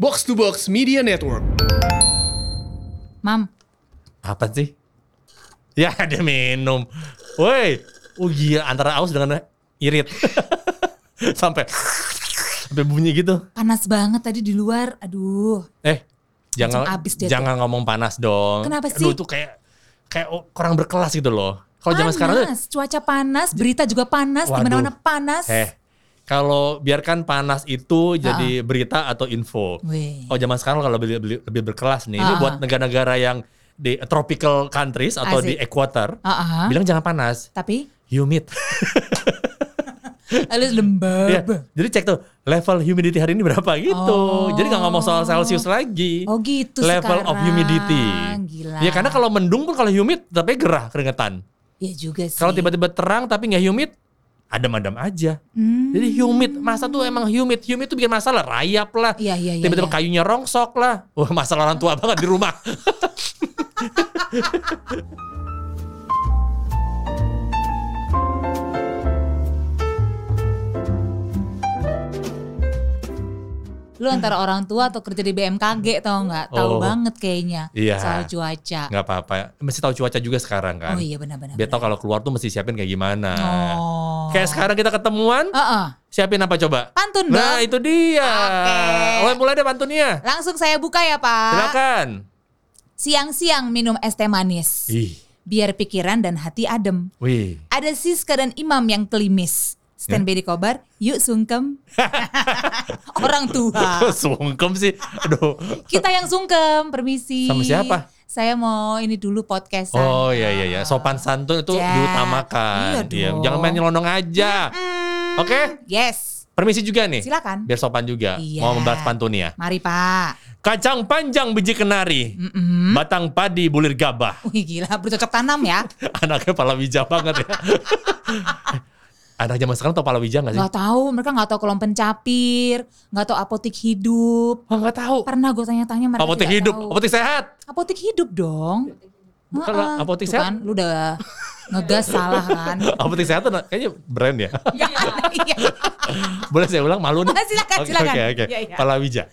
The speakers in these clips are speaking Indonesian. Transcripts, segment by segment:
Box to Box Media Network. Mam, Apa sih? Ya ada minum. Woi, oh gila antara aus dengan irit. sampai sampai bunyi gitu. panas banget tadi di luar. Aduh. Eh, jangan Langsung abis dia jangan ngomong panas dong. Kenapa sih? Aduh, itu kayak kayak o- kurang berkelas gitu loh. Kalau zaman sekarang tuh, panas, cuaca panas, berita juga panas, di Waduh. mana-mana panas. eh kalau biarkan panas itu jadi berita atau info. Weh. Kalau zaman sekarang kalau lebih, lebih, lebih berkelas nih, ini Ah. buat negara-negara yang di tropical countries atau di Asik. equator, Ah, ah. bilang jangan panas, Tapi humid. halus Iya. lembab. Jadi cek tuh level humidity hari ini berapa gitu. Oh. Jadi nggak ngomong soal Celsius lagi. Oh gitu level sekarang. of humidity. Gila. Ya karena kalau mendung pun kalau humid tapi gerah keringetan. Ya juga sih. Kalau tiba-tiba terang tapi nggak humid, adem-adem aja. Hmm. Jadi humid, masa tuh emang humid, humid tuh bikin masalah, rayap lah. Iya, iya, iya, Tiba-tiba iya. kayunya rongsok lah. Wah, masalah orang tua banget di rumah. Lu antara orang tua atau kerja di BMKG tau nggak? Tahu Oh. banget kayaknya Iya. soal cuaca. nggak apa-apa, mesti tahu cuaca juga sekarang Oh kan. iya benar-benar. Biar tahu kalau keluar tuh mesti siapin kayak gimana. Oh. Kayak sekarang kita ketemuan, Heeh. siapin apa coba? Pantun dong. Nah, itu dia. Oke. Mulai mulai deh pantunnya. Langsung saya buka ya Pak. Silakan. Siang-siang minum es teh manis. Ih, Biar pikiran dan hati adem. wih. Ada Siska dan Imam yang kelimis. Ya. Standby di kobar, yuk sungkem. Orang tua. Sungkem sih. Aduh. Kita yang sungkem, permisi. Sama siapa? Saya mau ini dulu podcastan. Oh iya iya iya, sopan santun itu Ya. diutamakan. Iya dong. Jangan main nyelonong aja. Hmm, Oke. Yes, Permisi juga nih. silakan. Biar sopan juga. Iya. Mau membahas pantunnya. Mari Pak. Kacang panjang biji kenari. Mm-mm. Batang padi bulir gabah. Wih gila, bercocok tanam ya. Anaknya palawija banget ya. Anak zaman sekarang tau palawija gak sih? Gak tahu, mereka gak tahu kolom pencapir, gak tahu apotik hidup. Wah gak tahu. Pernah gue tanya-tanya mereka Apotek tidak hidup, tahu. apotek sehat. Apotik hidup dong. Bukan Heeh, lah, apotik tuh Kan, sehat. lu udah ngegas salah kan. Apotek sehat tuh kayaknya brand ya. Iya. Boleh saya ulang malu nih. Silakan, Oke, silakan. Oke oke. Iya, iya. Palawija.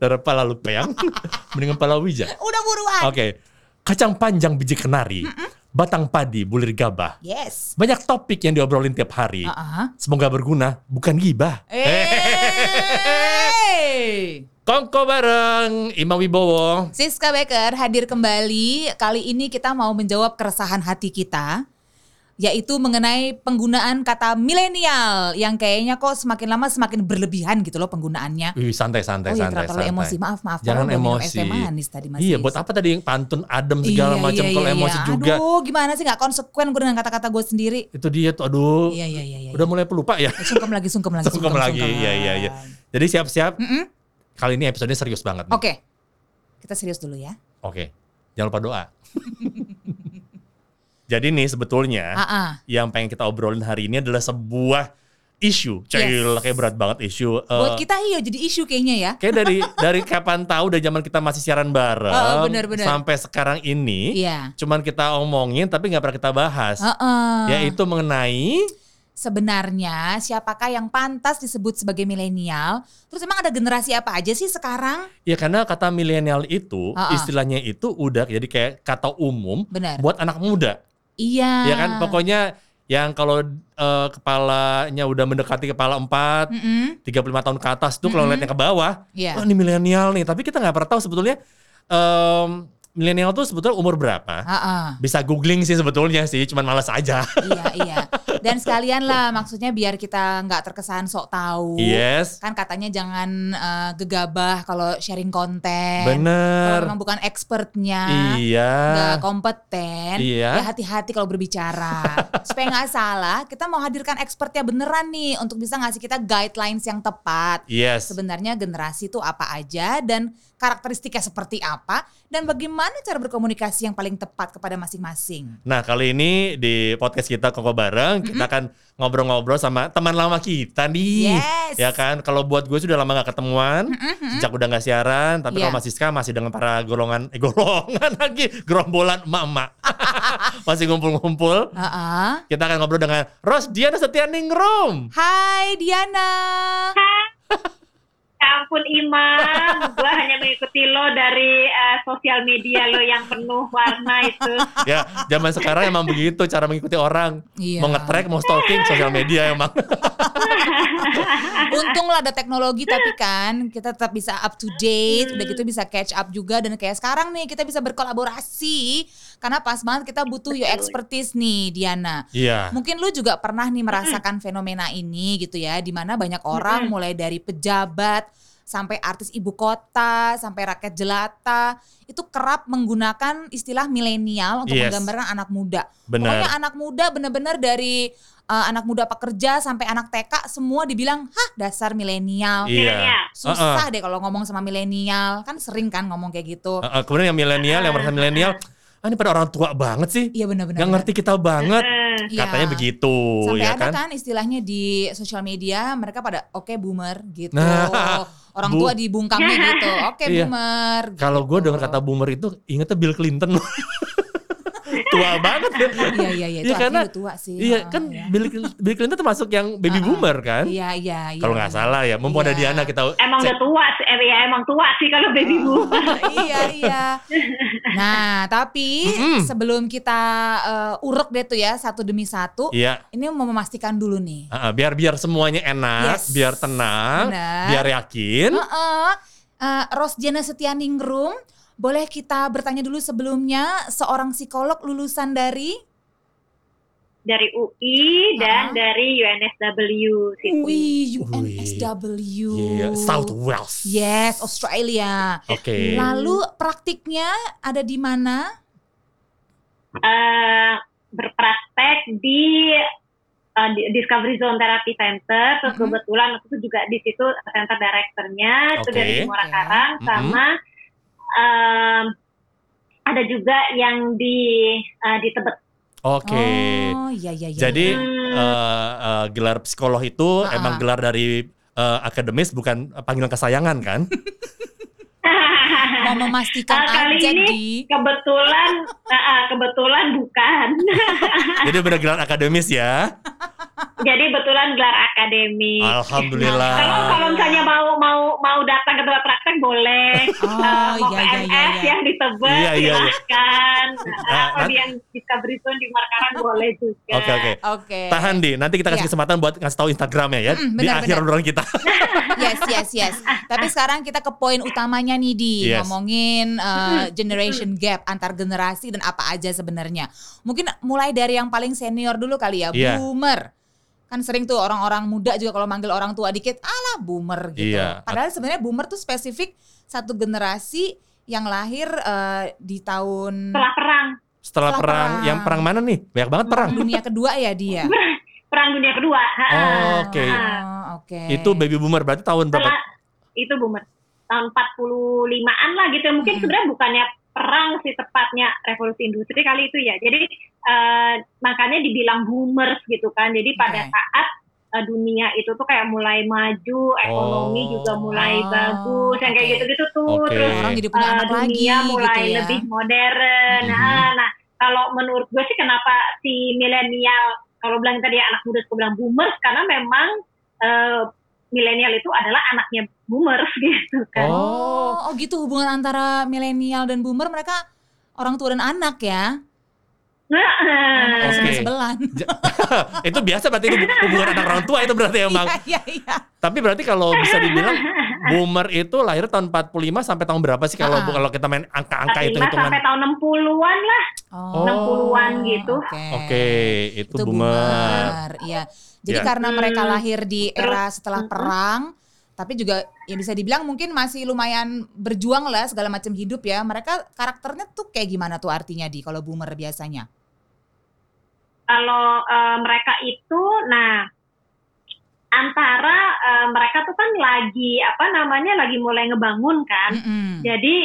Dari palalupeang mendingan palawija. Udah buruan. Oke. Kacang panjang biji kenari, batang padi bulir gabah. Yes. Banyak topik yang diobrolin tiap hari. Heeh. Semoga berguna, bukan gibah. Eh. Kongko bareng Imam Wibowo. Siska Becker hadir kembali. Kali ini kita mau menjawab keresahan hati kita yaitu mengenai penggunaan kata milenial yang kayaknya kok semakin lama semakin berlebihan gitu loh penggunaannya. Wih, santai Oh santai iya, santai. terlalu santai. emosi. Maaf, maaf. Padahal Jangan udah minum emosi. es teh manis tadi, Mas Is. iya, buat apa tadi yang pantun adem Hmm, segala Iya, macam iya, kalau iya, emosi iya. juga. Aduh, gimana sih nggak konsekuen gue dengan kata-kata gue sendiri. Itu dia tuh aduh. Iya, iya, iya, iya. Udah mulai pelupa ya. Eh, Sungkem lagi, sungkem lagi, Sungkem lagi. Iya, iya, iya. Jadi siap-siap. Mm-mm. Kali ini episodenya serius banget nih. Oke. Kita serius dulu ya. Oke. Jangan lupa doa. Jadi nih sebetulnya Ah, ah. yang pengen kita obrolin hari ini adalah sebuah isu. Cil, Yes. kayak berat banget isu. Eh, Buat kita iya jadi isu kayaknya ya. Kayak dari dari kapan tahu dari zaman kita masih siaran bareng Oh, oh, bener, bener. sampai sekarang ini, Iya. cuman kita omongin tapi nggak pernah kita bahas. Heeh. Yaitu mengenai Sebenarnya siapakah yang pantas disebut sebagai milenial? Terus emang ada generasi apa aja sih sekarang? ya karena kata milenial itu Ah, ah. istilahnya itu udah jadi kayak kata umum Benar. buat anak muda. Iya. Ya kan pokoknya yang kalau eh, kepalanya udah mendekati kepala empat, Mm-mm. 35 tahun ke atas tuh kalau Mm-mm. lihatnya ke bawah, Iya. oh ini milenial nih. Tapi kita nggak pernah tahu sebetulnya em, milenial tuh sebetulnya umur berapa. Ah, ah. Bisa googling sih sebetulnya sih, cuman malas aja. iya iya. Dan sekalian lah maksudnya biar kita nggak terkesan sok tahu. yes, Kan katanya jangan eh, gegabah kalau sharing konten. Kalau bener. memang bukan expertnya. Iya. nggak kompeten, Iya. ya hati-hati kalau berbicara. Supaya nggak salah, kita mau hadirkan expertnya beneran nih untuk bisa ngasih kita guidelines yang tepat. Yes. Sebenarnya generasi itu apa aja dan karakteristiknya seperti apa dan bagaimana cara berkomunikasi yang paling tepat kepada masing-masing. Nah kali ini di podcast kita Koko Bareng Kita akan ngobrol-ngobrol sama teman lama kita nih Yes. Ya kan kalau buat gue sudah lama gak ketemuan Sejak udah gak siaran Tapi Iya. kalau masih Siska masih dengan para golongan Eh golongan lagi Gerombolan emak-emak Masih ngumpul-ngumpul Heeh. Kita akan ngobrol dengan Rosdiana Setianingrum Hai Diana. Ya ampun Imam, gua hanya mengikuti lo dari eh, sosial media lo yang penuh warna itu. ya zaman sekarang emang begitu cara mengikuti orang Iya. mau nge-track mau stalking sosial media emang Untung lah ada teknologi tapi kan kita tetap bisa up to date, udah gitu bisa catch up juga dan kayak sekarang nih kita bisa berkolaborasi karena pas banget kita butuh your expertise nih Diana. iya Mungkin lu juga pernah nih merasakan fenomena ini gitu ya, di mana banyak orang mulai dari pejabat sampai artis ibu kota, sampai rakyat jelata, itu kerap menggunakan istilah milenial untuk Yes. menggambarkan anak muda. Pokoknya benar anak muda bener-bener dari uh, anak muda pekerja sampai anak TK semua dibilang, hah dasar milenial. iya Susah deh kalau ngomong sama milenial, kan sering kan ngomong kayak gitu. Heeh, kemudian yang milenial yang merasa milenial ah ini pada orang tua banget sih Iya bener-bener. nggak ngerti kita banget Eh, Iya. katanya begitu Sampai ya ada kan, kan? istilahnya di sosial media mereka pada oke boomer gitu. Nah, Orang bu- tua dibungkamnya gitu. Oke Iya. boomer. kalau gue gitu. dengar kata boomer itu ingetnya Bill Clinton tua banget Iya iya iya itu Iya, artinya karena- udah tua sih. iya Heeh, kan iya. Bill, Bill Clinton termasuk yang baby Heeh. boomer kan Iya iya iya. kalau nggak salah ya mumpung ada Iya. Diana kita emang cek. Ah. udah tua sih, eh, ya emang tua sih kalau baby boomer. iya iya. Nah, tapi sebelum kita eh, urek deh tuh ya satu demi satu, iya ini mau memastikan dulu nih. Heeh, biar biar semuanya enak, Yes. biar tenang, Benar. biar yakin. Heeh. eh, Rosdiana Setianingrum, boleh kita bertanya dulu sebelumnya seorang psikolog lulusan dari Dari UI Ah. dan dari UNSW sih. Wih, UNSW. Iya, South Wales. Yes, Australia. Oke. Lalu praktiknya ada di mana? Eh, berpraktek di eh, di- Discovery Zone Therapy Center, terus Mm-mm. kebetulan aku tuh juga di situ center directornya, itu Oke. dari Muara Ya. Karang, sama em, ada juga yang di eh, di Tebet. Oke. Oh, iya iya iya. Jadi Hmm. eh, eh, gelar psikolog itu Ah. emang gelar dari eh, akademis bukan eh, panggilan kesayangan kan? mau memastikan Eh, kali aja ini- di kebetulan eh, eh, kebetulan bukan, Jadi benar gelar akademis ya. jadi betulan gelar akademik. Alhamdulillah. Kalau kalau misalnya mau mau mau datang ke tempat praktek boleh. Oh, Eh, mau iya, ke iya, iya, MS iya. yang di Tebet Iya, iya, iya. silahkan. Ah, Eh, Kalau nanti- yang Discovery Zone di Markaran boleh juga. Oke oke. Oke. Tahan di, nanti kita kasih Iya. kesempatan buat ngasih tahu Instagramnya ya Mm, di benar, akhir benar. obrolan kita. Yes, yes, yes. Tapi sekarang kita ke poin utamanya nih di Yes. ngomongin Hmm. uh, generation gap antar generasi dan apa aja sebenarnya. Mungkin mulai dari yang paling senior dulu kali ya, Iya. boomer. Kan sering tuh orang-orang muda juga kalau manggil orang tua dikit, alah boomer gitu. Iya. Padahal sebenarnya boomer tuh spesifik satu generasi yang lahir uh, di tahun Setelah perang Setelah Setelah perang, perang. yang perang mana nih? Banyak banget perang. dunia kedua ya dia. perang dunia kedua. ha, ha. Oke. Oh, Oke. Itu baby boomer berarti tahun berapa? Setelah itu boomer tahun 45-an lah gitu. Mungkin Hmm. Mm-mm. sebenarnya bukannya perang sih tepatnya revolusi industri kali itu ya. Jadi eh, makanya dibilang boomers gitu kan. Jadi pada Oke. saat eh, dunia itu tuh kayak mulai maju, ekonomi Oh. juga mulai Oh, bagus, yang kayak oke. gitu-gitu tuh. Oke. Terus orang jadi punya eh, anak lagi dunia mulai gitu ya. Hmm. lebih modern. Mhm. Nah, nah, kalau menurut gue sih kenapa si milenial kalau bilang tadi anak muda suka bilang boomers karena memang eh, milenial itu adalah anaknya boomers gitu kan. Oh. Oh, oh gitu hubungan antara milenial dan boomer mereka orang tua dan anak ya. Nah, Anak Oke. Sebelah. itu biasa berarti itu hubungan anak orang tua itu berarti emang. Iya, iya, iya. Tapi berarti kalau bisa dibilang boomer itu lahir tahun 45 sampai tahun berapa sih Ah. kalau kalau kita main angka-angka itu hitungan? 45 eh, sampai tahun 60-an lah. Oh, 60-an gitu. Oke. Oke, itu, Itu boomer. boomer. Iya. Jadi Iya. karena mereka Hmm. lahir di Terus- hmm. era setelah Mm-mm. perang, tapi juga ya bisa dibilang mungkin masih lumayan berjuang lah segala macam hidup ya. Mereka karakternya tuh kayak gimana tuh artinya di kalau boomer biasanya? Kalau eh, mereka itu nah antara eh, mereka tuh kan lagi apa namanya lagi mulai ngebangun kan. Mm-mm. Jadi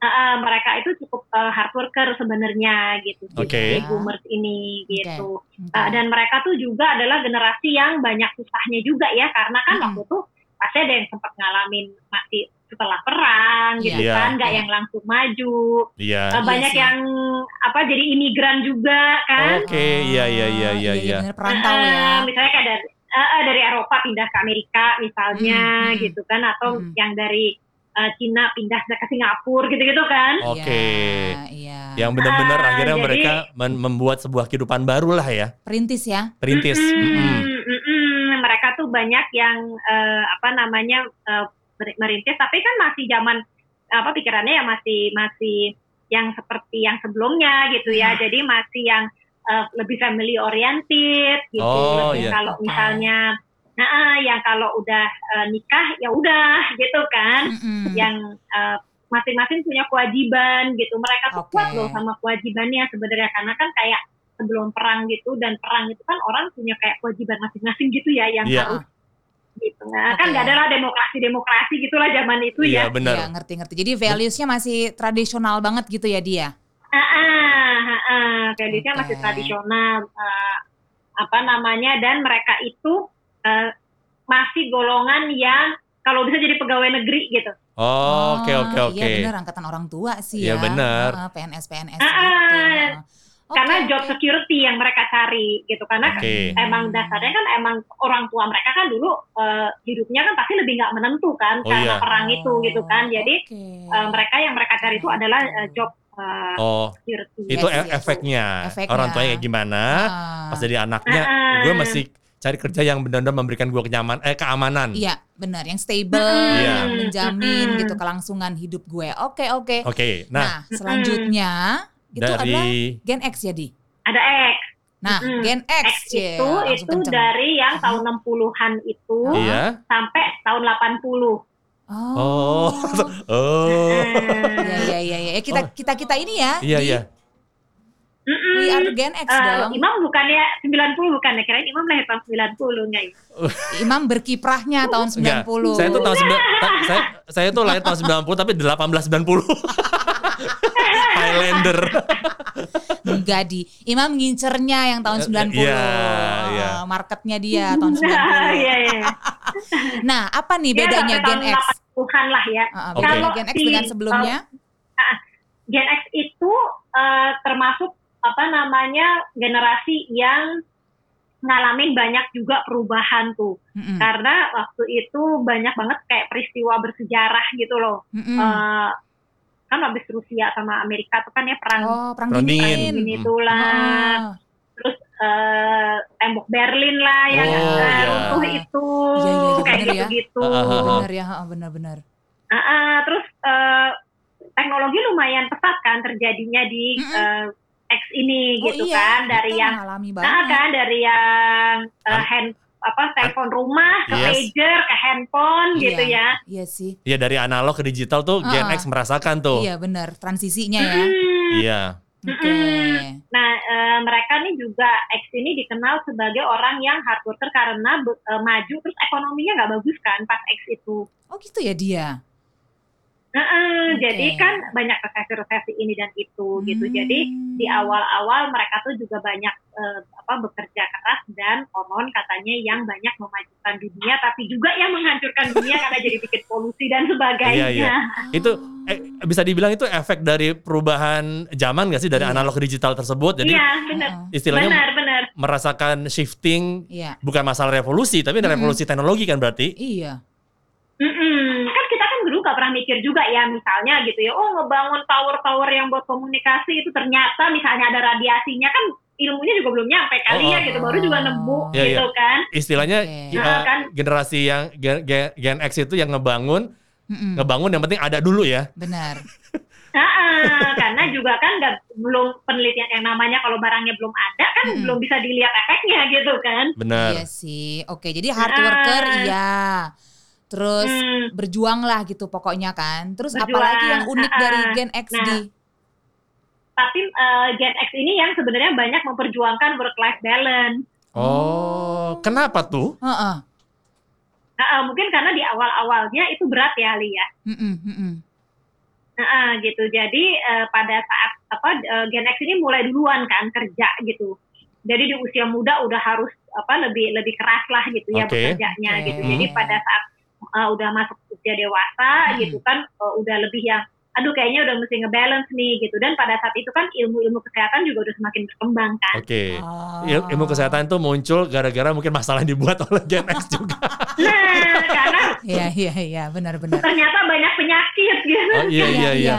eh, eh, mereka itu cukup eh, hard worker sebenarnya gitu. sih, Oke. si boomers ini gitu. Oke. Uh, dan mereka tuh juga adalah generasi yang banyak susahnya juga ya karena kan Mm-mm. waktu tuh pasti ada yang sempat ngalamin masih setelah perang gitu Iya. kan nggak Iya. yang langsung maju Iya. Uh, banyak sih. yang apa jadi imigran juga kan Oke, iya iya iya Ah, iya iya. bener, perantau Uh, ya. misalnya kayak dari eh, eh, dari Eropa pindah ke Amerika misalnya Hmm, hmm. gitu kan atau Hmm. yang dari eh, Cina pindah ke Singapura gitu-gitu kan. Oke. Iya. Yang benar-benar Ah, akhirnya jadi- mereka men- membuat sebuah kehidupan baru lah ya, Perintis ya. perintis. Mm-mm. Mm-mm, mm-mm. Mereka tuh banyak yang eh, apa namanya eh, mer- merintis, tapi kan masih zaman apa pikirannya ya masih masih yang seperti yang sebelumnya gitu Hmm. ya. Jadi masih yang eh, lebih family oriented gitu. Oh, Lebih iya. Kalau Oke. misalnya, nah eh, yang kalau udah eh, nikah ya udah gitu kan. Mm-mm. Yang eh, masing-masing punya kewajiban gitu. Mereka tuh Oke. kuat loh sama kewajibannya sebenarnya karena kan kayak sebelum perang gitu dan perang itu kan orang punya kayak kewajiban masing-masing gitu ya yang Iya. harus gitu. Oke. Nah, kan gak ada lah demokrasi-demokrasi gitulah zaman itu Iya ya. benar. Iya, ngerti-ngerti. Jadi values-nya masih tradisional banget gitu ya dia. Ah, ah, ah, ah. Values-nya masih Oke. tradisional eh, apa namanya dan mereka itu eh, masih golongan yang kalau bisa jadi pegawai negeri gitu. Oh, Oke Ah, oke Iya oke. bener angkatan orang tua sih Iya, ya. bener. Ah, PNS PNS Ah, gitu. ah. Oke, Karena job oke. security yang mereka cari gitu karena Oke. Hmm. emang dasarnya kan emang orang tua mereka kan dulu eh, hidupnya kan pasti lebih nggak menentu kan Oh, iya. karena perang itu gitu kan jadi Oke. eh, mereka yang mereka cari itu adalah eh, job eh, Oh, security itu Yes, e- yes. efeknya. Iya Efeknya. Orang tuanya kayak gimana? Ah, Pas jadi anaknya, Ah. gue masih cari kerja yang benar-benar memberikan gue kenyaman, eh keamanan. Iya benar yang stable Iya. yang menjamin Mm-mm. gitu kelangsungan hidup gue. Oke oke. Oke. Nah, Nah, selanjutnya itu adalah dari Gen X jadi. ada X Nah, Mm-mm. Gen X, X Cil. itu Langsung itu kenceng. dari yang Mhm. tahun 60-an itu Oh. iya. sampai tahun 80 Oh. Oh. Eh, oh. Iya iya iya iya. Eh, Kita Oh. kita kita ini ya. Iya di- iya. Mm-mm. We are Gen X Eh, dong. Imam bukannya 90 bukan ya kirain Imam lahir tahun 90 enggak ya? Imam berkiprahnya Iya. tahun Enggak. 90. Saya tuh tahun sembilan- ta- saya saya tuh lahir tahun 90 tapi 1890. Highlander. Enggak di. Imam ngincernya yang tahun Eh, 90. iya, iya. Ah, Marketnya dia tahun Iya 90. iya. Nah, apa nih Ya, bedanya sampai Gen tahun X? 80-an lah ya. Ah, ah, Oke. bedanya Gen X Si, dengan sebelumnya? Gen X itu eh, termasuk apa namanya generasi yang ngalamin banyak juga perubahan tuh Mm-mm. karena waktu itu banyak banget kayak peristiwa bersejarah gitu loh Mm-mm. Eh, kan habis Rusia sama Amerika tuh kan ya perang Oh, perang Perang dingin. dingin. ini Mm. itulah Ah, eh, tembok Berlin lah yang Oh, eh, iya. runtuh itu Iya, iya, iya, kayak bener ya. gitu-gitu Ah, ah, ah. benar ya, ah, benar-benar. Ah, ah, terus eh, teknologi lumayan pesat kan terjadinya di Mm-mm. eh, X ini Oh gitu iya, kan dari kita yang mengalami banget. nah kan dari yang eh, An- hand apa telepon rumah ke Yes. pager ke handphone Iya. gitu ya. Iya sih. Ya dari analog ke digital tuh Gen Ah. X merasakan tuh. Iya, benar. Transisinya ya. Mm. Iya. Oke. Nah eh, mereka nih juga X ini dikenal sebagai orang yang hard worker karena be- eh, maju terus ekonominya nggak bagus kan pas X itu. Oh, gitu ya dia. Nah, eh, Oke. Jadi kan banyak resesi-resesi ini dan itu gitu. Jadi Hmm. di awal-awal mereka tuh juga banyak eh, apa bekerja keras dan konon katanya yang banyak memajukan dunia tapi juga yang menghancurkan dunia karena jadi bikin polusi dan sebagainya. Iya, iya. Itu Oh. eh, bisa dibilang itu efek dari perubahan zaman gak sih dari Iya. analog ke digital tersebut. Jadi Iya, benar. Ah, ah. istilahnya Benar, benar. merasakan shifting Iya. bukan masalah revolusi tapi ada Mm-mm. revolusi teknologi kan berarti. Iya. Mm-mm. Kan kita kan dulu gak pernah mikir juga ya misalnya gitu ya, oh ngebangun tower-tower yang buat komunikasi itu ternyata misalnya ada radiasinya kan ilmunya juga belum nyampe kali Oh, ya oh, gitu, oh. baru juga nemu Iya, gitu kan. Istilahnya Oke. ya, Nah, kan. generasi yang gen, gen- Gen X itu yang ngebangun, Mm. Mm-mm. ngebangun yang penting ada dulu ya. Benar. Nah, eh, karena juga kan nggak- belum penelitian yang namanya kalau barangnya belum ada kan Mm-mm. belum bisa dilihat efeknya gitu kan. Iya Benar. sih. Oke, jadi hard worker Ah. iya. Terus Hmm. berjuang lah gitu pokoknya kan. Terus Berjuang, apalagi yang unik ah, dari ah. Gen X Nah. di Tapi eh, Gen X ini yang sebenarnya banyak memperjuangkan work life balance. Oh, kenapa tuh? Heeh. Nah, eh, mungkin karena di awal-awalnya itu berat ya Ali ya. Mm-mm, mm-mm. Nah, eh, gitu. Jadi eh, pada saat apa eh, Gen X ini mulai duluan kan kerja gitu. Jadi di usia muda udah harus apa lebih lebih keras lah gitu ya Oke. bekerjanya Oke. gitu. Jadi pada saat eh, udah masuk usia dewasa Hmm. gitu kan eh, udah lebih yang aduh kayaknya udah mesti ngebalance nih gitu dan pada saat itu kan ilmu-ilmu kesehatan juga udah semakin berkembang kan Oke. Ah. Il- Ilmu kesehatan itu muncul gara-gara mungkin masalah yang dibuat oleh Gen X juga. nah karena Iya iya iya benar-benar. ternyata banyak penyakit gitu Oh iya iya iya.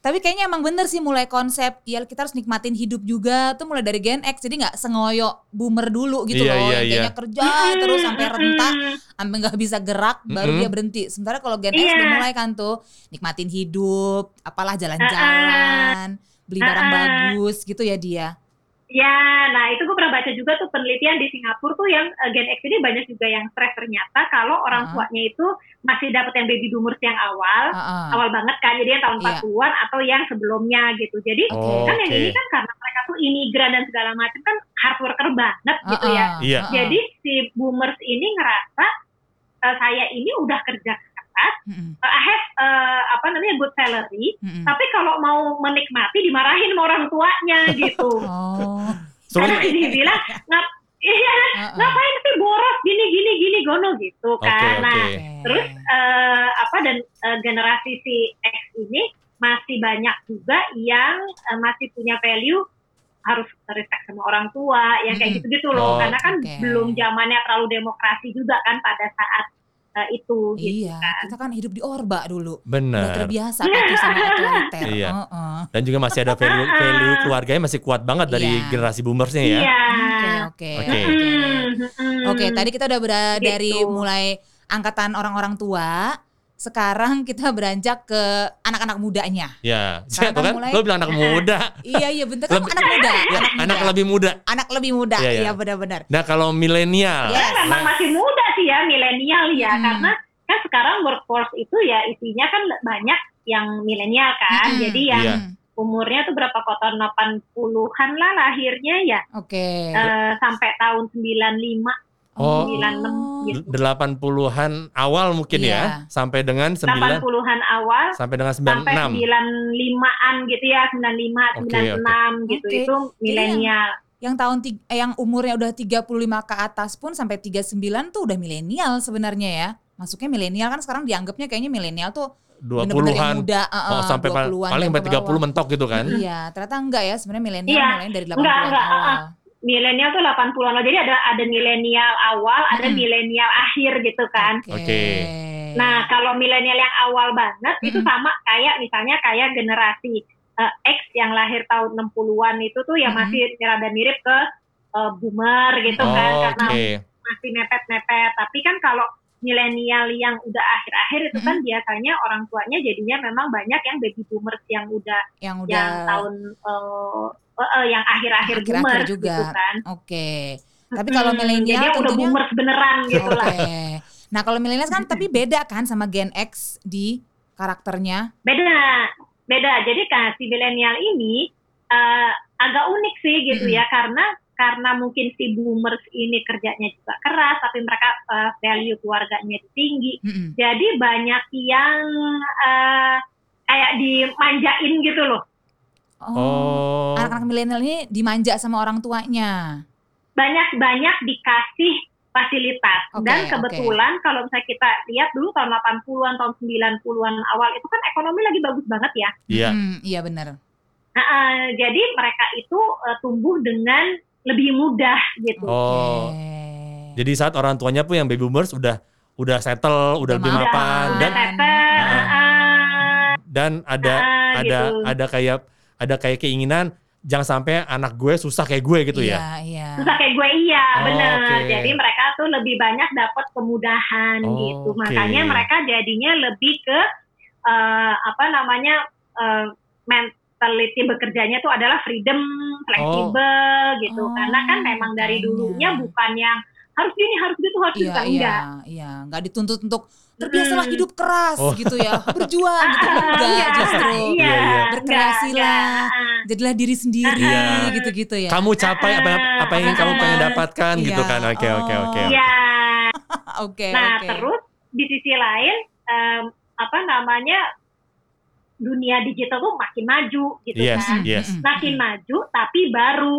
Tapi kayaknya emang bener sih mulai konsep ya kita harus nikmatin hidup juga tuh mulai dari Gen X jadi nggak sengoyo boomer dulu gitu loh Iya, iya, yang kayaknya iya. kerja terus sampai rentah Mm, sampai nggak bisa gerak baru Mm-mm. dia berhenti. Sementara kalau Gen X Iya. udah mulai kan tuh nikmatin hidup, apalah jalan-jalan, beli barang Ah-ah. bagus gitu ya dia. ya nah itu gue pernah baca juga tuh penelitian di Singapura tuh yang eh, Gen X ini banyak juga yang stres ternyata kalau Ah. orang tuanya itu masih dapat yang baby boomers yang awal Ah-ah. awal banget kan jadi yang tahun Iya. 40-an atau yang sebelumnya gitu jadi Oh, kan yang oke. ini kan karena mereka tuh imigran dan segala macam kan hard worker banget gitu ya Ah-ah, Iya. ah-ah. jadi si boomers ini ngerasa eh, saya ini udah kerja keras Mm-mm, eh, I have eh, apa namanya good salary Hmm. mm-mm. tapi kalau mau menikmati dimarahin sama orang tuanya gitu Oh. Suruh- karena dibilang ngap iya ah-ah. ngapain sih boros gini gini gini gono gitu Oke, kan nah oke. Oke. Terus eh, apa dan eh, generasi si X ini masih banyak juga yang eh, masih punya value harus respect sama orang tua yang kayak Mm-mm. gitu-gitu loh Oh, karena kan oke. belum zamannya terlalu demokrasi juga kan pada saat eh, itu gitu Iya, kan. Iya. kita kan hidup di orba dulu. Udah Benar. terbiasa kan tuh sama otoriter. Iya. Heeh. Dan juga masih ada value, value keluarganya masih kuat banget dari Iya. generasi boomersnya ya. Iya. Oke, Oke. oke. Mm, mm. Oke, tadi kita udah berada Gitu. dari mulai angkatan orang-orang tua, sekarang kita beranjak ke anak-anak mudanya. Ya. Sekarang Tuh kan mulai- lo bilang anak muda. Iya, iya bentar kamu Lebih- anak muda, Ya, anak muda. anak lebih muda. Anak lebih muda. Iya, iya. Iya, benar-benar. Nah, kalau milenial. Yes. Ya, memang masih muda sih ya milenial ya Hmm. karena kan sekarang workforce itu ya isinya kan banyak yang milenial kan Hmm. jadi yang Iya. Hmm, umurnya tuh berapa kotor 80-an lah lahirnya ya Oke. eh, sampai tahun 95 Oh. 96 gitu 80-an awal mungkin Iya. ya sampai dengan 9 80-an awal sampai dengan sampai 96. 95-an gitu ya 95 Oke, 96 gitu Oke. itu milenial Yang tahun ti- eh, yang umurnya udah 35 ke atas pun sampai 39 tuh udah milenial sebenarnya ya. Masuknya milenial kan sekarang dianggapnya kayaknya milenial tuh bener-bener yang 20-an. muda, Eh, Oh, sampai pa- paling sampai 30 mentok gitu kan. Iya, ternyata enggak ya sebenarnya milenial Iya, mulai dari 80-an enggak, enggak, awal. ah, milenial tuh 80-an loh. jadi ada ada milenial awal ada Mm-mm. milenial akhir gitu kan Oke. Nah, kalau milenial yang awal banget itu Iya. Mm-mm. sama kayak misalnya kayak generasi eh, X yang lahir tahun 60-an itu tuh ya Mm-mm. masih rada mirip ke eh, boomer gitu kan Oh, karena Oke. masih mepet-mepet. Tapi kan kalau milenial yang udah akhir-akhir itu kan biasanya orang tuanya jadinya memang banyak yang baby boomers yang udah yang udah yang tahun eh, eh, eh, yang akhir-akhir Akhir-akhir boomer juga. gitu kan. oke. Tapi kalau Mm-mm. milenial jadi yang udah tentunya boomers beneran gitu lah. Oke. Nah, kalau milenial kan tapi beda kan sama Gen X di karakternya. beda beda jadi kan si milenial ini eh, agak unik sih gitu ya karena karena mungkin si boomers ini kerjanya juga keras tapi mereka eh, value keluarganya itu tinggi Mm-mm. jadi banyak yang eh, kayak dimanjain gitu loh Oh. Oh. Anak-anak milenial ini dimanja sama orang tuanya. banyak banyak dikasih fasilitas Oke, dan oke. kebetulan kalau misalnya kita lihat dulu tahun 80-an tahun 90-an awal itu kan ekonomi lagi bagus banget ya Iya. Mm, iya benar. Nah, eh, jadi mereka itu eh, tumbuh dengan lebih mudah gitu. Oh. Oke. Jadi saat orang tuanya pun yang baby boomers udah udah settle, udah lebih mapan. mapan dan Udah tetet, Ah. eh, dan ada Ah, ada gitu. ada kayak ada kayak keinginan jangan sampai anak gue susah kayak gue gitu ya. Iya, susah kayak gue iya, Oh, bener. oke. Jadi mereka tuh lebih banyak dapat kemudahan Oh, gitu. oke. Makanya mereka jadinya lebih ke eh, apa namanya eh, mentality bekerjanya tuh adalah freedom, fleksibel gitu. Oh, Karena kan memang dari makanya. dulunya bukan yang harus gini, harus gitu, harus iya, gitu, iya, enggak. iya, nggak dituntut untuk terbiasalah Mm. Ah, hidup keras Oh. gitu ya, berjuang gitu enggak justru Iya, Iya, iya. Berkreasilah. enggak, enggak. jadilah diri sendiri Iya. gitu-gitu ya. Kamu capai apa apa yang kamu pengen Ah. dapatkan gitu Iya. kan. Oke, oke, Oh. oke. Iya. Oke, Nah, oke. terus di sisi lain em, apa namanya dunia digital tuh makin maju gitu Yes, kan. yes. Hmm. Makin maju tapi baru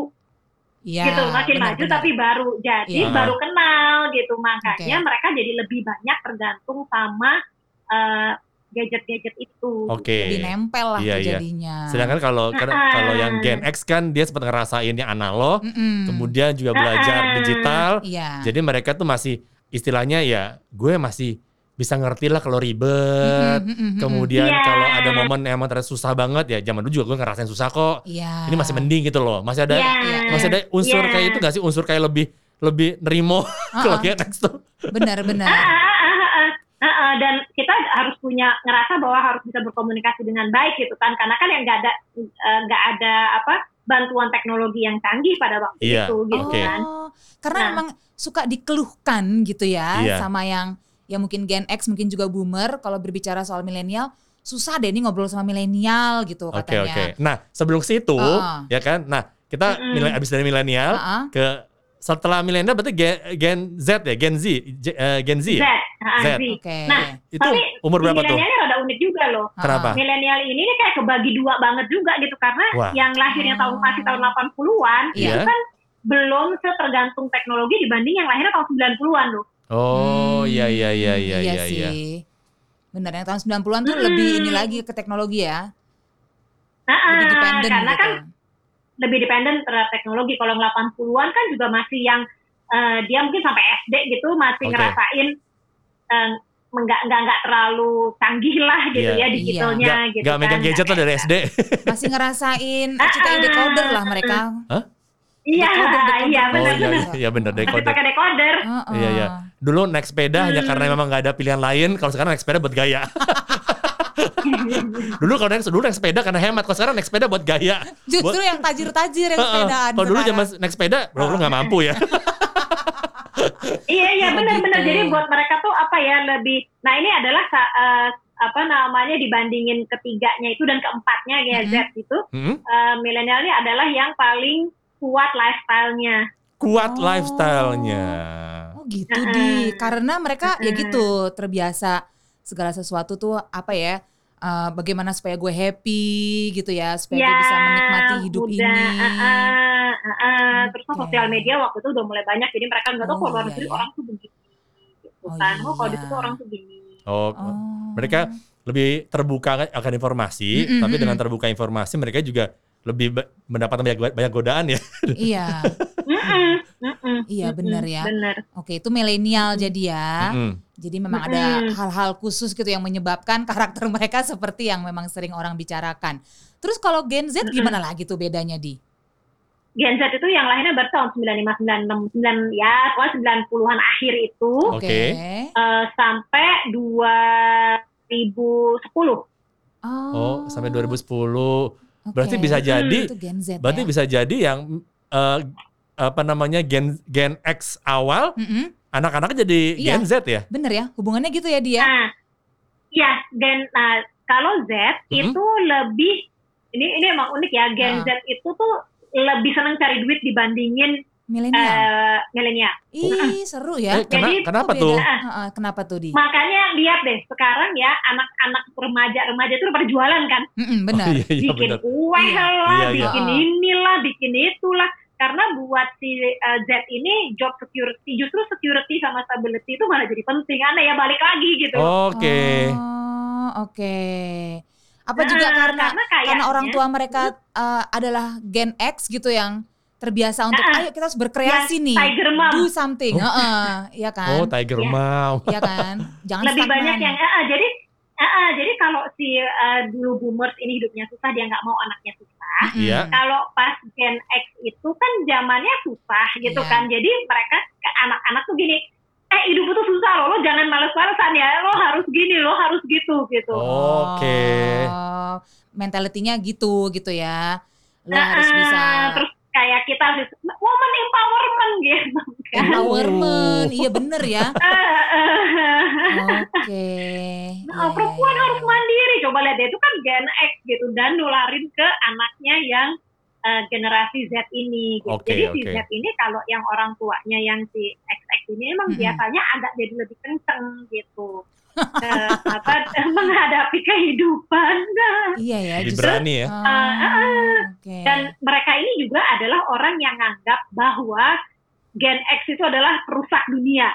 Iya, gitu, makin benar, maju benar. tapi baru. Jadi Iya. baru kenal gitu. Makanya Oke. mereka jadi lebih banyak tergantung sama eh, gadget-gadget itu. Oh, Lebih Oke. nempel lah Iya, iya. jadinya. Sedangkan kalau karena- Ah. kalau yang Gen X kan dia sempat ngerasain yang analog, Mm-mm. kemudian juga belajar Ah. digital. Hmm. Iya. Jadi mereka tuh masih istilahnya ya gue masih bisa ngerti lah kalau ribet. Mm-mm, mm-mm, eh, Kemudian Mm-hmm. Iya. kalau ada momen yang emang ternyata susah banget ya zaman dulu juga gue ngerasain susah kok. mm-mm. Iya. Ini masih mending gitu loh. Masih ada Ya, masih ada unsur ya. kayak itu gak sih unsur kayak lebih lebih nerimo kalau Gen X tuh. Benar, benar. Ah, ah, ah, ah, ah. Ah, ah, dan kita harus punya ngerasa bahwa harus bisa berkomunikasi dengan baik gitu kan karena kan yang nggak ada eh, nggak ada apa bantuan teknologi yang canggih pada waktu Iya, itu gitu oke. kan Oh, karena Nah. memang suka dikeluhkan gitu ya Iya. sama yang ya mungkin Gen X, mungkin juga Boomer kalau berbicara soal milenial susah deh ini ngobrol sama milenial gitu Oke katanya. oke. Nah sebelum situ Ah. ya kan. Nah kita Mm-mm. mile- abis dari milenial Ah, ah. ke setelah milenial berarti gen, gen Z ya Gen Z J- eh, Gen Z Z, ya. ah, Z. Z. Oke. Nah, Itu tapi umur berapa tuh? milenialnya rada unik juga loh Ah, Kenapa? milenial ini nih kayak kebagi dua banget juga gitu karena Wah. yang lahirnya tahun masih tahun 80-an itu Iya. kan belum setergantung teknologi dibanding yang lahirnya tahun 90-an loh. Oh Hmm, iya iya iya iya iya. sih. iya. Benar yang tahun 90-an tuh Hmm. lebih ini lagi ke teknologi ya. Nah, Lebih ah, dependent karena gitu. kan lebih dependen terhadap teknologi. Kalau yang 80-an kan juga masih yang eh, dia mungkin sampai SD gitu masih Oke. ngerasain eh, nggak nggak nggak terlalu canggih lah gitu Iya. ya digitalnya Gak, gitu gak kan. megang gadget tuh dari SD. Masih ngerasain Ah, CTI ah, decoder lah mereka. Iya, Decoder, decoder. iya oh benar iya benar. iya benar dari Masih pakai decoder. Heeh. Iya iya. Dulu naik sepeda hanya Hmm. karena memang nggak ada pilihan lain. Kalau sekarang naik sepeda buat gaya. dulu kalau naik dulu naik sepeda karena hemat. Kalau sekarang naik sepeda buat gaya. Justru Buat- yang tajir-tajir yang Heeh. sepedaan. Kalau dulu sekarang. zaman naik sepeda, bro, lu nggak mampu ya. Iya iya Oh, benar gitu. benar. Jadi buat mereka tuh apa ya lebih. Nah ini adalah sa- eh, apa namanya dibandingin ketiganya itu dan keempatnya ya Mhm. Z itu Hmm? eh, milenial ini adalah yang paling kuat lifestyle-nya. Kuat Oh. lifestyle-nya. Oh gitu Heeh. di karena mereka ya Heeh. gitu terbiasa segala sesuatu tuh apa ya eh, bagaimana supaya gue happy gitu ya supaya gue bisa menikmati hidup Ya, udah, ini. uh-uh, uh-uh. Terus kan Oke. sosial media waktu itu udah mulai banyak, jadi mereka nggak tahu Oh, kalau luar iya, negeri iya. orang tuh begini. Gitu Oh, kan. Oh, kalau di iya. situ orang tuh begini. Oh, Oh. mereka lebih terbuka akan informasi, Mm-mm, tapi dengan mm-mm. terbuka informasi mereka juga lebih ba- mendapatkan banyak banyak godaan ya. iya Mm-mm, mm-mm, Iya, mm-mm, bener ya. Bener. oke itu milenial jadi ya Mm-mm. jadi memang Mm-mm. ada hal-hal khusus gitu yang menyebabkan karakter mereka seperti yang memang sering orang bicarakan. Terus kalau Gen Z gimana lagi tuh bedanya di? Gen Z itu yang lahirnya baru tahun 95, 96, 9, ya, pokoknya 90-an akhir itu Oke. eh, sampai 2010. Oh, sampai 2010. Oke. Berarti bisa jadi Itu Gen Z. ya. berarti bisa jadi yang eh, apa namanya Gen Gen X awal Mm-mm. anak-anaknya jadi Iya. Gen Z ya? Bener ya, hubungannya gitu ya dia. Nah, ya, gen nah, kalau Z Mhm. itu lebih ini ini emang unik ya, gen Ah. Z itu tuh lebih seneng cari duit dibandingin Milenial. eh, milenial. Ih, seru ya. Eh, kena- Jadi, kenapa Kok beda? tuh? Heeh, kenapa tuh di? Makanya lihat deh sekarang ya anak-anak remaja-remaja itu pada jualan kan, Mm-mm, benar. Oh, iya iya bikin benar. kue Iya. lah, Iya, iya. bikin Ah. inilah, bikin itulah. Karena buat si eh, Z ini job security justru security sama stability itu malah jadi penting. Aneh ya balik lagi gitu. Oke. Oh, oke. Apa Nah, juga karena kayaknya- karena orang tua mereka eh, adalah Gen X gitu yang terbiasa untuk Nah, ayo kita harus berkreasi nih. Tiger Mom Do something. Oh. Heeh, iya kan? Oh, Tiger Ya. Mom. Iya kan? Jangan lebih stagnan. banyak yang ah, ah, jadi ah, ah, jadi kalau si ah, dulu boomers ini hidupnya susah dia nggak mau anaknya susah Mm-mm. Iya. kalau pas Gen X itu kan zamannya susah gitu Iya. kan jadi mereka ke anak-anak tuh gini eh hidup itu susah loh lo jangan males-malesan ya lo harus gini lo harus gitu gitu Oke. Oh, mentalitinya gitu gitu ya. Lo Nah, harus ah, bisa terus kayak kita harus woman empowerment gitu kan empowerment. Oh. Iya bener ya. Ah, ah, ah. Oke. Iya, Nah, perempuan harus mandiri. Coba lihat deh, itu kan Gen X gitu dan nularin ke anaknya yang eh, generasi Z ini. Gitu. Oke, Jadi oke. si Z ini kalau yang orang tuanya yang si XX ini emang Mm-mm. biasanya agak jadi lebih kenceng gitu. Eh, apa menghadapi kehidupan Nah, Iya ya. Lebih justru- berani ya. Ah, ah, Oke. dan mereka ini juga adalah orang yang nganggap bahwa Gen X itu adalah perusak dunia.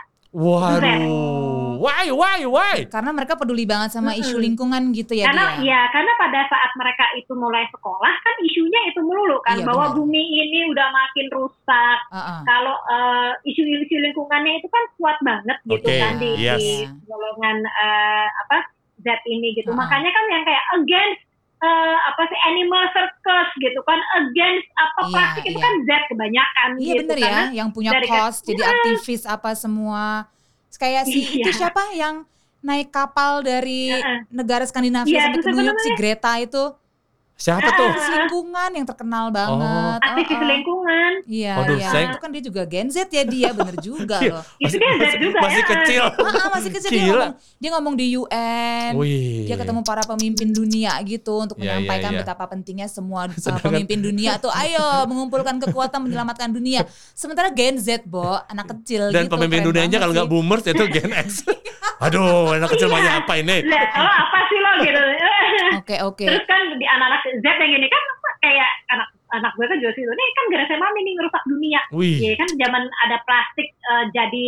Waduh. Why, why, why? Karena mereka peduli banget sama Mm-mm. isu lingkungan gitu ya karena dia. ya karena pada saat mereka itu mulai sekolah kan isunya itu melulu kan Iya, benar. bahwa Ah. bumi ini udah makin rusak Heeh. kalau eh, isu-isu lingkungannya itu kan kuat banget gitu Oke, kan di, yes. Iya, di golongan eh, apa Z ini gitu Ah. makanya kan yang kayak against eh, apa sih animal circus gitu kan against apa Iya, plastik itu iya. kan Z kebanyakan Iya gitu bener karena ya, yang punya dari kos, kecil- jadi aktivis apa semua. Kayak si itu Iya. siapa yang naik kapal dari Heeh. negara Skandinavia Iya, sampai ke itu New York si namanya. Greta itu. Siapa tuh? Aktivis lingkungan yang terkenal banget. aktivis Heeh. lingkungan Iya, Oh. Waduh, iya. saya- Itu kan dia juga Gen Z ya dia, bener juga Iya, loh. Itu dia Z juga masih ya. kecil. Ah, ah, masih kecil dia Gila. ngomong, dia ngomong di UN. Wih. Dia ketemu para pemimpin dunia gitu untuk Iya, iya, menyampaikan iya. betapa pentingnya semua uh, Sedangkan- pemimpin dunia tuh ayo mengumpulkan kekuatan menyelamatkan dunia. Sementara Gen Z, Bo, anak kecil dan gitu. pemimpin keren dunianya banget kalau nggak sih. Iya. boomers itu Gen X. Aduh, anak kecil mainnya apa ini? Lah, lo apa sih lo gitu Oke, oke. Terus kan di anak-anak Z yang ini kan kayak anak anak gue kan juga sih ini kan gara-gara mami nih ngerusak dunia. Wih. Iya. Ya kan zaman ada plastik eh, jadi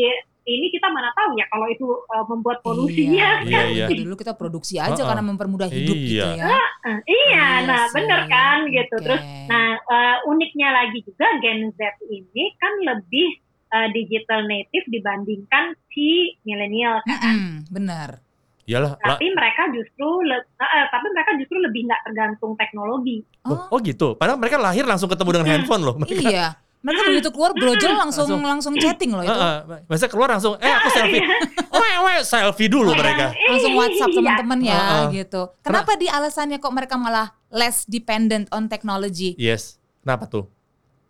ini kita mana tahu ya kalau itu eh, membuat polusinya. Iya, kan? iya. Itu Dulu kita produksi aja Ha-ha. karena mempermudah hidup gitu ya. Iya. Eh, iya, Iya nah sih. Iya. bener kan gitu. Oke. Terus nah eh, uniknya lagi juga Gen Z ini kan lebih eh, digital native dibandingkan si milenial. Mm-mm, benar. Iyalah. lah. Tapi mereka justru le- eh, eh, tapi mereka justru lebih nggak tergantung teknologi. Oh, Oh gitu. Padahal mereka lahir langsung ketemu dengan handphone loh. Mereka iya. Mereka begitu keluar brojol langsung langsung chatting loh Oh, itu. Heeh, masa keluar langsung, eh aku selfie. Oh, Weh, weh, eh, selfie Oh, dulu iya. mereka. langsung WhatsApp Iya. teman-teman ya Heeh. gitu. Kenapa di alasannya kok mereka malah less dependent on technology? Yes. Kenapa tuh?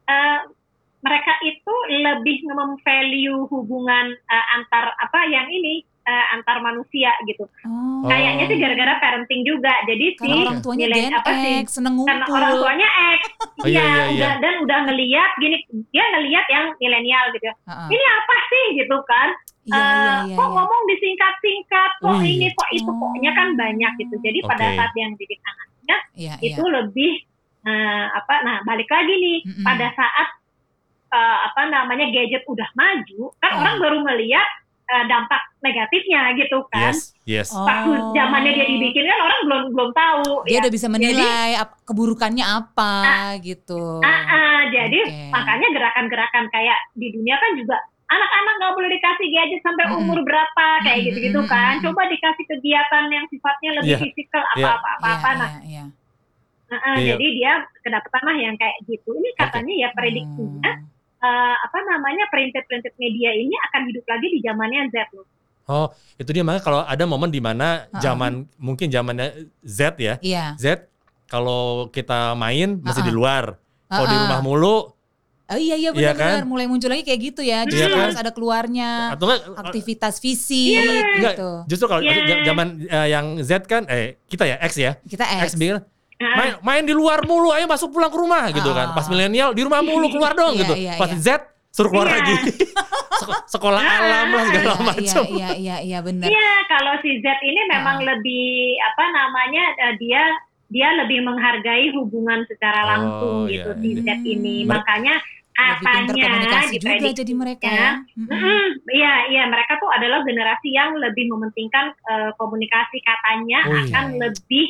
eh, mereka itu lebih memvalue hubungan eh, antar apa yang ini eh, antar manusia gitu. Oh, Kayaknya sih gara-gara parenting juga. Jadi si karena orang tuanya nilai Gen apa sih? X, seneng Karena orang ngumpul. tuanya X, Oh, iya, iya, iya, iya. udah- dan udah ngeliat gini, dia ngeliat yang milenial gitu. Heeh. Ini apa sih gitu kan? Iya, iya, Eh, iya. kok ngomong disingkat-singkat, kok Oh, iya. ini, kok itu, Oh. koknya kan banyak gitu. Jadi pada Oke. saat yang didik anak Iya, iya. itu lebih eh, apa nah balik lagi nih Mm-mm. pada saat eh, apa namanya gadget udah maju kan Ah. orang baru melihat eh, dampak negatifnya gitu kan Yes, yes. Oh. waktu zamannya dia dibikin kan orang belum belum tahu Dia ya. udah bisa menilai ap- keburukannya apa gitu. Ah, ah, jadi Oke. makanya gerakan-gerakan kayak di dunia kan juga anak-anak nggak boleh dikasih gadget sampai Mm-mm. umur berapa kayak Mm-mm, gitu-gitu mm-mm, kan mm-mm. coba dikasih kegiatan yang sifatnya lebih Iya. fisikal Iya. apa-apa apa-apa Iya, nah iya, iya. ah, ah, Iya. jadi dia kedapatan lah yang kayak gitu ini katanya ya prediksinya Hmm. eh, apa namanya perintis-perintis media ini akan hidup lagi di zamannya Z loh. Oh, itu dia makanya kalau ada momen di mana Heeh. zaman mungkin zamannya Z ya. Iya. Z kalau kita main Heeh. masih di luar. Kalau di Heeh. rumah mulu Oh iya iya benar Iya kan? benar mulai muncul lagi kayak gitu ya. Justru Iya kan? eh, harus ada keluarnya, atau enggak aktivitas visi enggak, gitu. justru kalau Iya. j- zaman eh, yang Z kan eh kita ya X ya. Kita X. X, bilang Heeh. main, main di luar mulu, ayo masuk pulang ke rumah gitu Ah. kan. Pas milenial di rumah mulu keluar dong Iya, gitu. iya, Pas iya. Z suruh keluar Iya. lagi. Sek- Sekolah alam lah segala Iya, macam. Iya iya iya iya benar. Iya, kalau si Z ini Ah. memang lebih apa namanya eh, dia dia lebih menghargai hubungan secara Oh, langsung iya, gitu si iya. Z ini. Mer- Makanya Lebih pintar katanya komunikasi juga jadi mereka ya. ya. Mm-mm. Mm-mm, Iya, iya mereka tuh adalah generasi yang lebih mementingkan eh, komunikasi katanya Oh, iya. akan lebih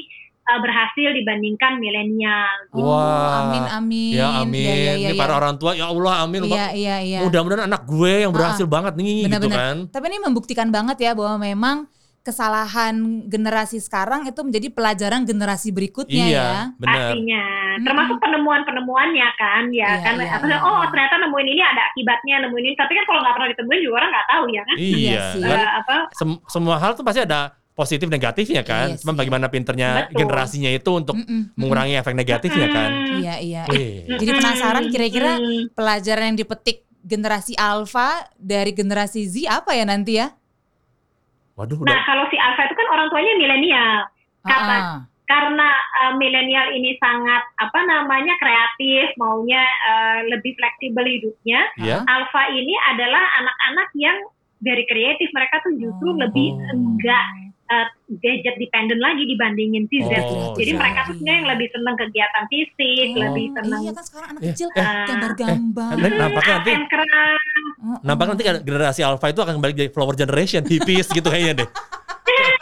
eh, berhasil dibandingkan milenial. Oh, Wah. amin amin. Ya amin. Iya iya iya. ini para orang tua ya Allah amin. Iya iya iya. Ah, Mudah-mudahan anak gue yang berhasil banget nih gitu Benar-benar. kan. Tapi ini membuktikan banget ya bahwa memang kesalahan generasi sekarang itu menjadi pelajaran generasi berikutnya Iya, ya. benar. pastinya Mm-mm. termasuk penemuan-penemuannya kan Hmm. ya Iya, kan iya, apa, iya, oh iya. ternyata nemuin ini ada akibatnya nemuin ini tapi kan kalau nggak pernah ditemuin juga orang nggak tahu ya kan Iya Iya. sih. kan? Eh, apa Sem- semua hal tuh pasti ada positif negatifnya kan. Iya Cuman sih. bagaimana pinternya Betul. generasinya itu untuk Mm-mm. mengurangi efek negatifnya kan. Mm, Iya iya. Wih. Jadi penasaran kira-kira mm. pelajaran yang dipetik generasi alfa dari generasi Z apa ya nanti ya? Waduh nah udah. kalau si Alfa itu kan orang tuanya milenial Kata- Ah, ah. karena eh, milenial ini sangat apa namanya kreatif maunya eh, lebih fleksibel hidupnya Iya. Alfa ini adalah anak-anak yang very kreatif mereka tuh justru Oh. lebih enggak eh, gadget dependent lagi dibandingin si Z Oh, Jadi iya. mereka tuh sebenarnya yang lebih seneng kegiatan fisik, Oh, lebih seneng Iya kan sekarang anak Iya. kecil Eh, gambar-gambar. Dan nampaknya art nanti and craft, Nampaknya nanti kan generasi alpha itu akan balik jadi flower generation hippies gitu kayaknya deh.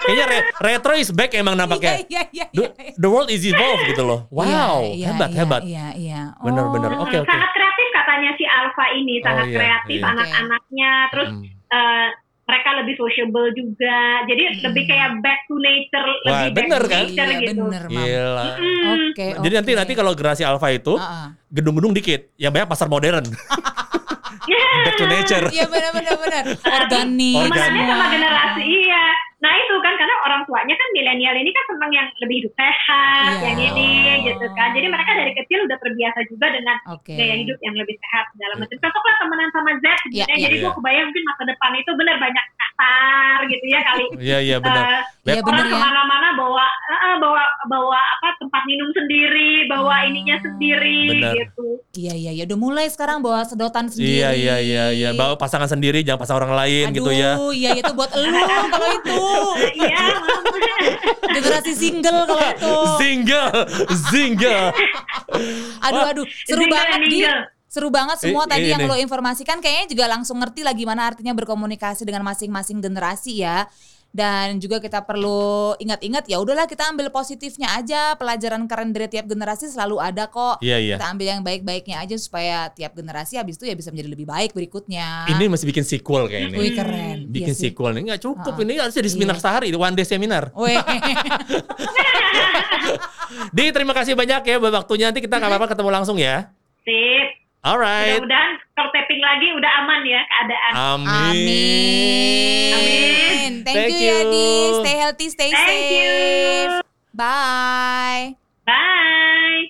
Kayaknya re- retro is back emang Iya, nampaknya. iya, iya. The, the world is evolved gitu loh. Wow, Iya, iya, hebat iya, hebat. Iya, iya. Bener, bener. Oh. Oke, oke. Sangat kreatif katanya si Alfa ini, Oh, sangat iya, kreatif iya. anak-anaknya, terus Hmm. eh, mereka lebih sociable juga. Jadi lebih kayak back to nature, Wah, lebih bener, back to kan? nature Hmm. Iya, gitu. bener, Oh, Mam. Gila. Hmm, Oke, Jadi nanti oke. nanti kalau generasi alpha itu Ah, ah. gedung-gedung dikit, yang banyak pasar modern. Back to nature. kan? Iya benar benar benar. Organik. Temenannya semua. sama generasi, iya. Nah itu kan karena orang tuanya kan milenial ini kan seneng yang lebih hidup sehat, Iya. yang ini gitu kan. Jadi mereka dari kecil udah terbiasa juga dengan Oke. gaya hidup yang lebih sehat segala macam. Cocok lah temenan sama Z Iya, gitu ya. iya. Jadi gue Iya. kebayang mungkin masa depan itu bener banyak kasar gitu ya kali. Iya iya benar. Eh, Iya orang benar ya. kemana-mana bawa eh, eh, bawa bawa apa tempat minum sendiri, bawa Hmm. ininya sendiri Benar. gitu. Iya iya iya udah mulai sekarang bawa sedotan sendiri. Iya iya iya iya. Bawa pasangan sendiri, jangan pasang orang lain Aduh, gitu ya. iya itu buat elu kalau itu. Iya. Generasi single kalau itu. Single, single. Aduh aduh, seru Single banget and Gi. mingle. Seru banget semua I- tadi ini. yang lo informasikan kayaknya juga langsung ngerti lah gimana artinya berkomunikasi dengan masing-masing generasi ya. Dan juga kita perlu ingat-ingat ya udahlah kita ambil positifnya aja. Pelajaran keren dari tiap generasi selalu ada kok. Iya iya. Kita ambil yang baik-baiknya aja supaya tiap generasi habis itu ya bisa menjadi lebih baik berikutnya. Ini masih bikin sequel kayaknya. Wih keren. bikin Iya sih. sequel nih nggak cukup Ah, ah. ini harusnya di seminar Iya. sehari one day seminar Weh. di terima kasih banyak ya buat waktunya nanti kita nggak apa-apa ketemu langsung ya Sip. alright Mudah-mudahan kalau tapping lagi udah aman ya keadaan. amin, Amin. Amin. Thank, Thank you, you. ya Di. Stay healthy, stay Thank safe. you. Bye. Bye.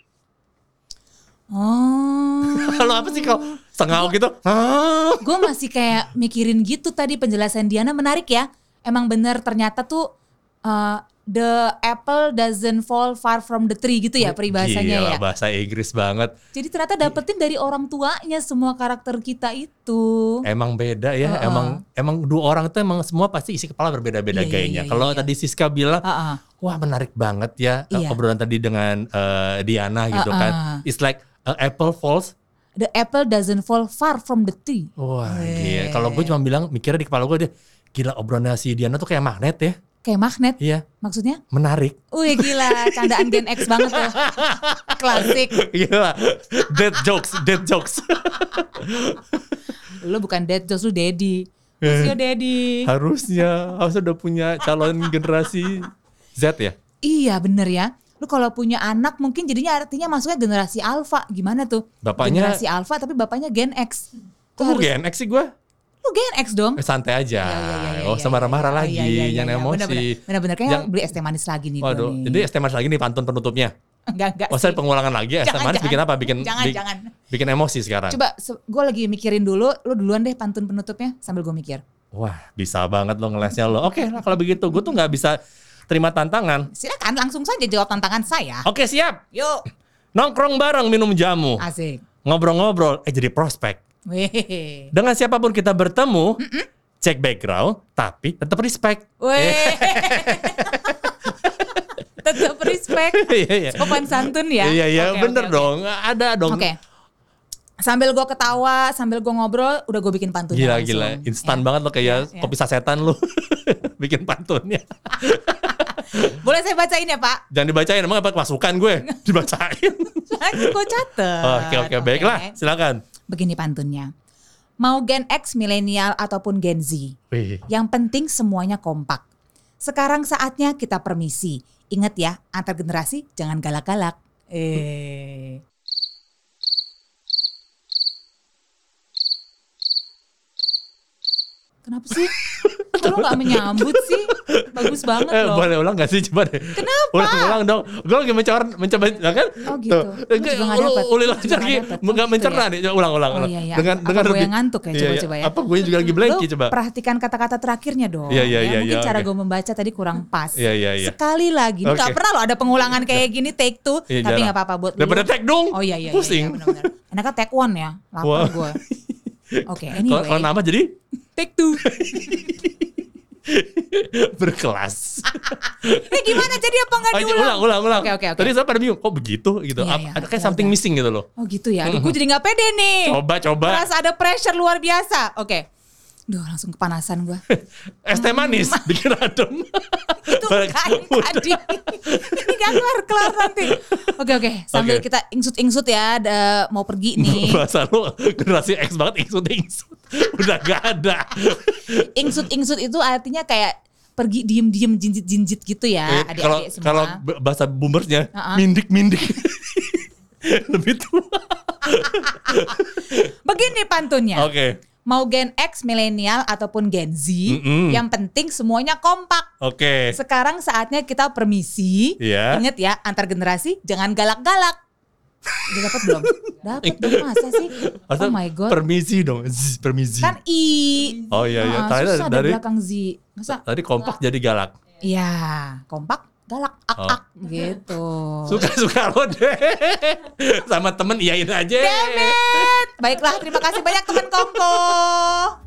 Oh. kalau apa sih kau sengau gitu Hah? Gue masih kayak mikirin gitu tadi penjelasan Diana menarik ya. Emang bener ternyata tuh uh, the apple doesn't fall far from the tree gitu ya peribahasanya Gila, ya. bahasa Inggris banget Jadi ternyata dapetin dari orang tuanya semua karakter kita itu. emang beda ya Uh-uh. emang emang dua orang tuh emang semua pasti isi kepala berbeda-beda Iya, iya, gayanya iya, kalau iya. tadi Siska bilang Ah, ah. wah menarik banget ya Iya. eh, obrolan tadi dengan eh, Diana gitu Uh-uh. kan it's like eh, apple falls The apple doesn't fall far from the tree. Wah, Weh. gila. Kalau gue cuma bilang mikirnya di kepala gue deh, gila obrolannya si Diana tuh kayak magnet ya. Kayak magnet Iya, maksudnya. menarik. Wih gila, candaan Gen X banget tuh. Klasik. Gila. Iya. dead jokes, dead jokes. Lu bukan dad jokes, lu daddy. Who's your daddy? harusnya, harusnya udah punya calon generasi Z ya. Iya bener ya. Lu kalau punya anak mungkin jadinya artinya masuknya generasi alfa. Gimana tuh? Bapaknya- Generasi alfa tapi bapaknya Gen X. Tuh Kok gue harus- Gen X sih gue? Lu Gen X dong. Eh, santai Iya, aja. iya, iya, iya, oh, iya, sama marah-marah iya, lagi, iya, iya, iya, jangan iya. emosi. Bener-bener. Bener-bener kayaknya Yang- beli es teh manis lagi nih. gua Waduh, nih. jadi es teh manis lagi nih pantun penutupnya. enggak enggak. Oh, saya sih. pengulangan lagi. Es teh Jangan, manis bikin jangan. apa? Bikin Jangan, bi- jangan. bikin emosi sekarang. Coba gue lagi mikirin dulu, lu duluan deh pantun penutupnya sambil gue mikir. Wah, bisa banget lo ngelesnya lo. Oke, lah kalau begitu gue tuh nggak bisa terima tantangan. Silakan langsung saja jawab tantangan saya. Oke, siap. Yuk. Nongkrong bareng minum jamu, Asik. ngobrol-ngobrol, eh jadi prospek. Weh. Dengan siapapun kita bertemu, cek background, tapi tetap respect. Eh. Weh. Tetap respect. Iya, iya. Sopan santun ya. Iya, iya, Oke, bener oke, oke. dong. Ada dong. Oke. Sambil gue ketawa, sambil gue ngobrol, udah gue bikin pantun. Gila, gila. Instan banget lo kayak Iya, iya. kopi sasetan lo. Bikin pantunnya. Boleh saya bacain ya Pak? Jangan dibacain, emang apa kemasukan gue? Dibacain. Soalnya gue catet. Oke, oke, baiklah. Silakan. Begini pantunnya. Mau Gen X, milenial ataupun Gen Z, Wih. yang penting semuanya kompak. Sekarang saatnya kita permisi. Ingat ya, antar generasi jangan galak-galak. Eh. Kenapa sih? Kok lo gak menyambut sih? Bagus banget Eh, loh. boleh ulang gak sih coba deh? Kenapa? Ulang, ulang dong. Gue lagi mencoba, mencoba, ya kan? Oh, gitu. Lu juga nggak dapet. Lu juga nggak dapet. Oh, Uli lagi, nggak gitu mencerna ya. nih. Coba Ulang, ulang, Oh, ulang. iya, iya. Dengan, Apa dengan gua lebih- yang ngantuk ya? Iya, Coba, iya. coba ya. Apa gue juga lagi Lo blanky coba? perhatikan kata-kata terakhirnya dong. Iya, iya, ya. iya, Mungkin iya, cara oke. gue membaca tadi kurang pas. Iya, iya, iya. Sekali lagi, ini nggak Oke. pernah lo ada pengulangan kayak gini take two, Iya, tapi jarang. nggak apa-apa buat Daripada lu. tag dong. Oh iya iya, Pusing. Iya, iya, benar-benar. Enaknya take one ya, lapar Wah. gue. Oke, Kalau anyway, kalau nama jadi take two. berkelas. Ini Eh, gimana jadi apa nggak Ayo, diulang? ulang, ulang, ulang. Oke, oke, oke. Tadi saya pada bingung, kok begitu gitu. Iya, Apa- iya, ada kayak oke, something oke. Eh, missing gitu loh. Oh gitu ya. Aduh, gue jadi nggak pede nih. Coba, coba. Merasa ada pressure luar biasa. Oke. Duh, langsung kepanasan gue. Es teh manis, bikin adem. Itu bukan kan? tadi. Ini gak kelar-kelar nanti. Oke, oke. Sambil Oke. kita ingsut-ingsut ya. ada- mau pergi nih. Bahasa lu generasi X banget ingsut ingsut. Udah gak ada. Ingsut-ingsut itu artinya kayak pergi diem-diem jinjit-jinjit gitu Eh, ya. Kalau Adik-adik semua. kalau b- bahasa boomersnya Uh-uh. mindik mindik. Lebih tua. Begini pantunnya. Oke. Mau gen X, milenial, ataupun gen Z. Mm-mm. Yang penting semuanya kompak. Oke. Sekarang saatnya kita permisi. Iya. Ingat ya, antar generasi jangan galak-galak. Udah dapat belum? Dapat dong masa sih? Masa oh my god. Permisi dong. zzz, permisi. kan i. Oh iya Ah, iya. Tadi susah dari dari Ah. belakang Z. Masa? tadi kompak jadi galak. Iya, kompak galak ak ak Oh. gitu. Suka suka lo deh. Sama temen iyain aja. Baiklah, terima kasih banyak teman Kongko.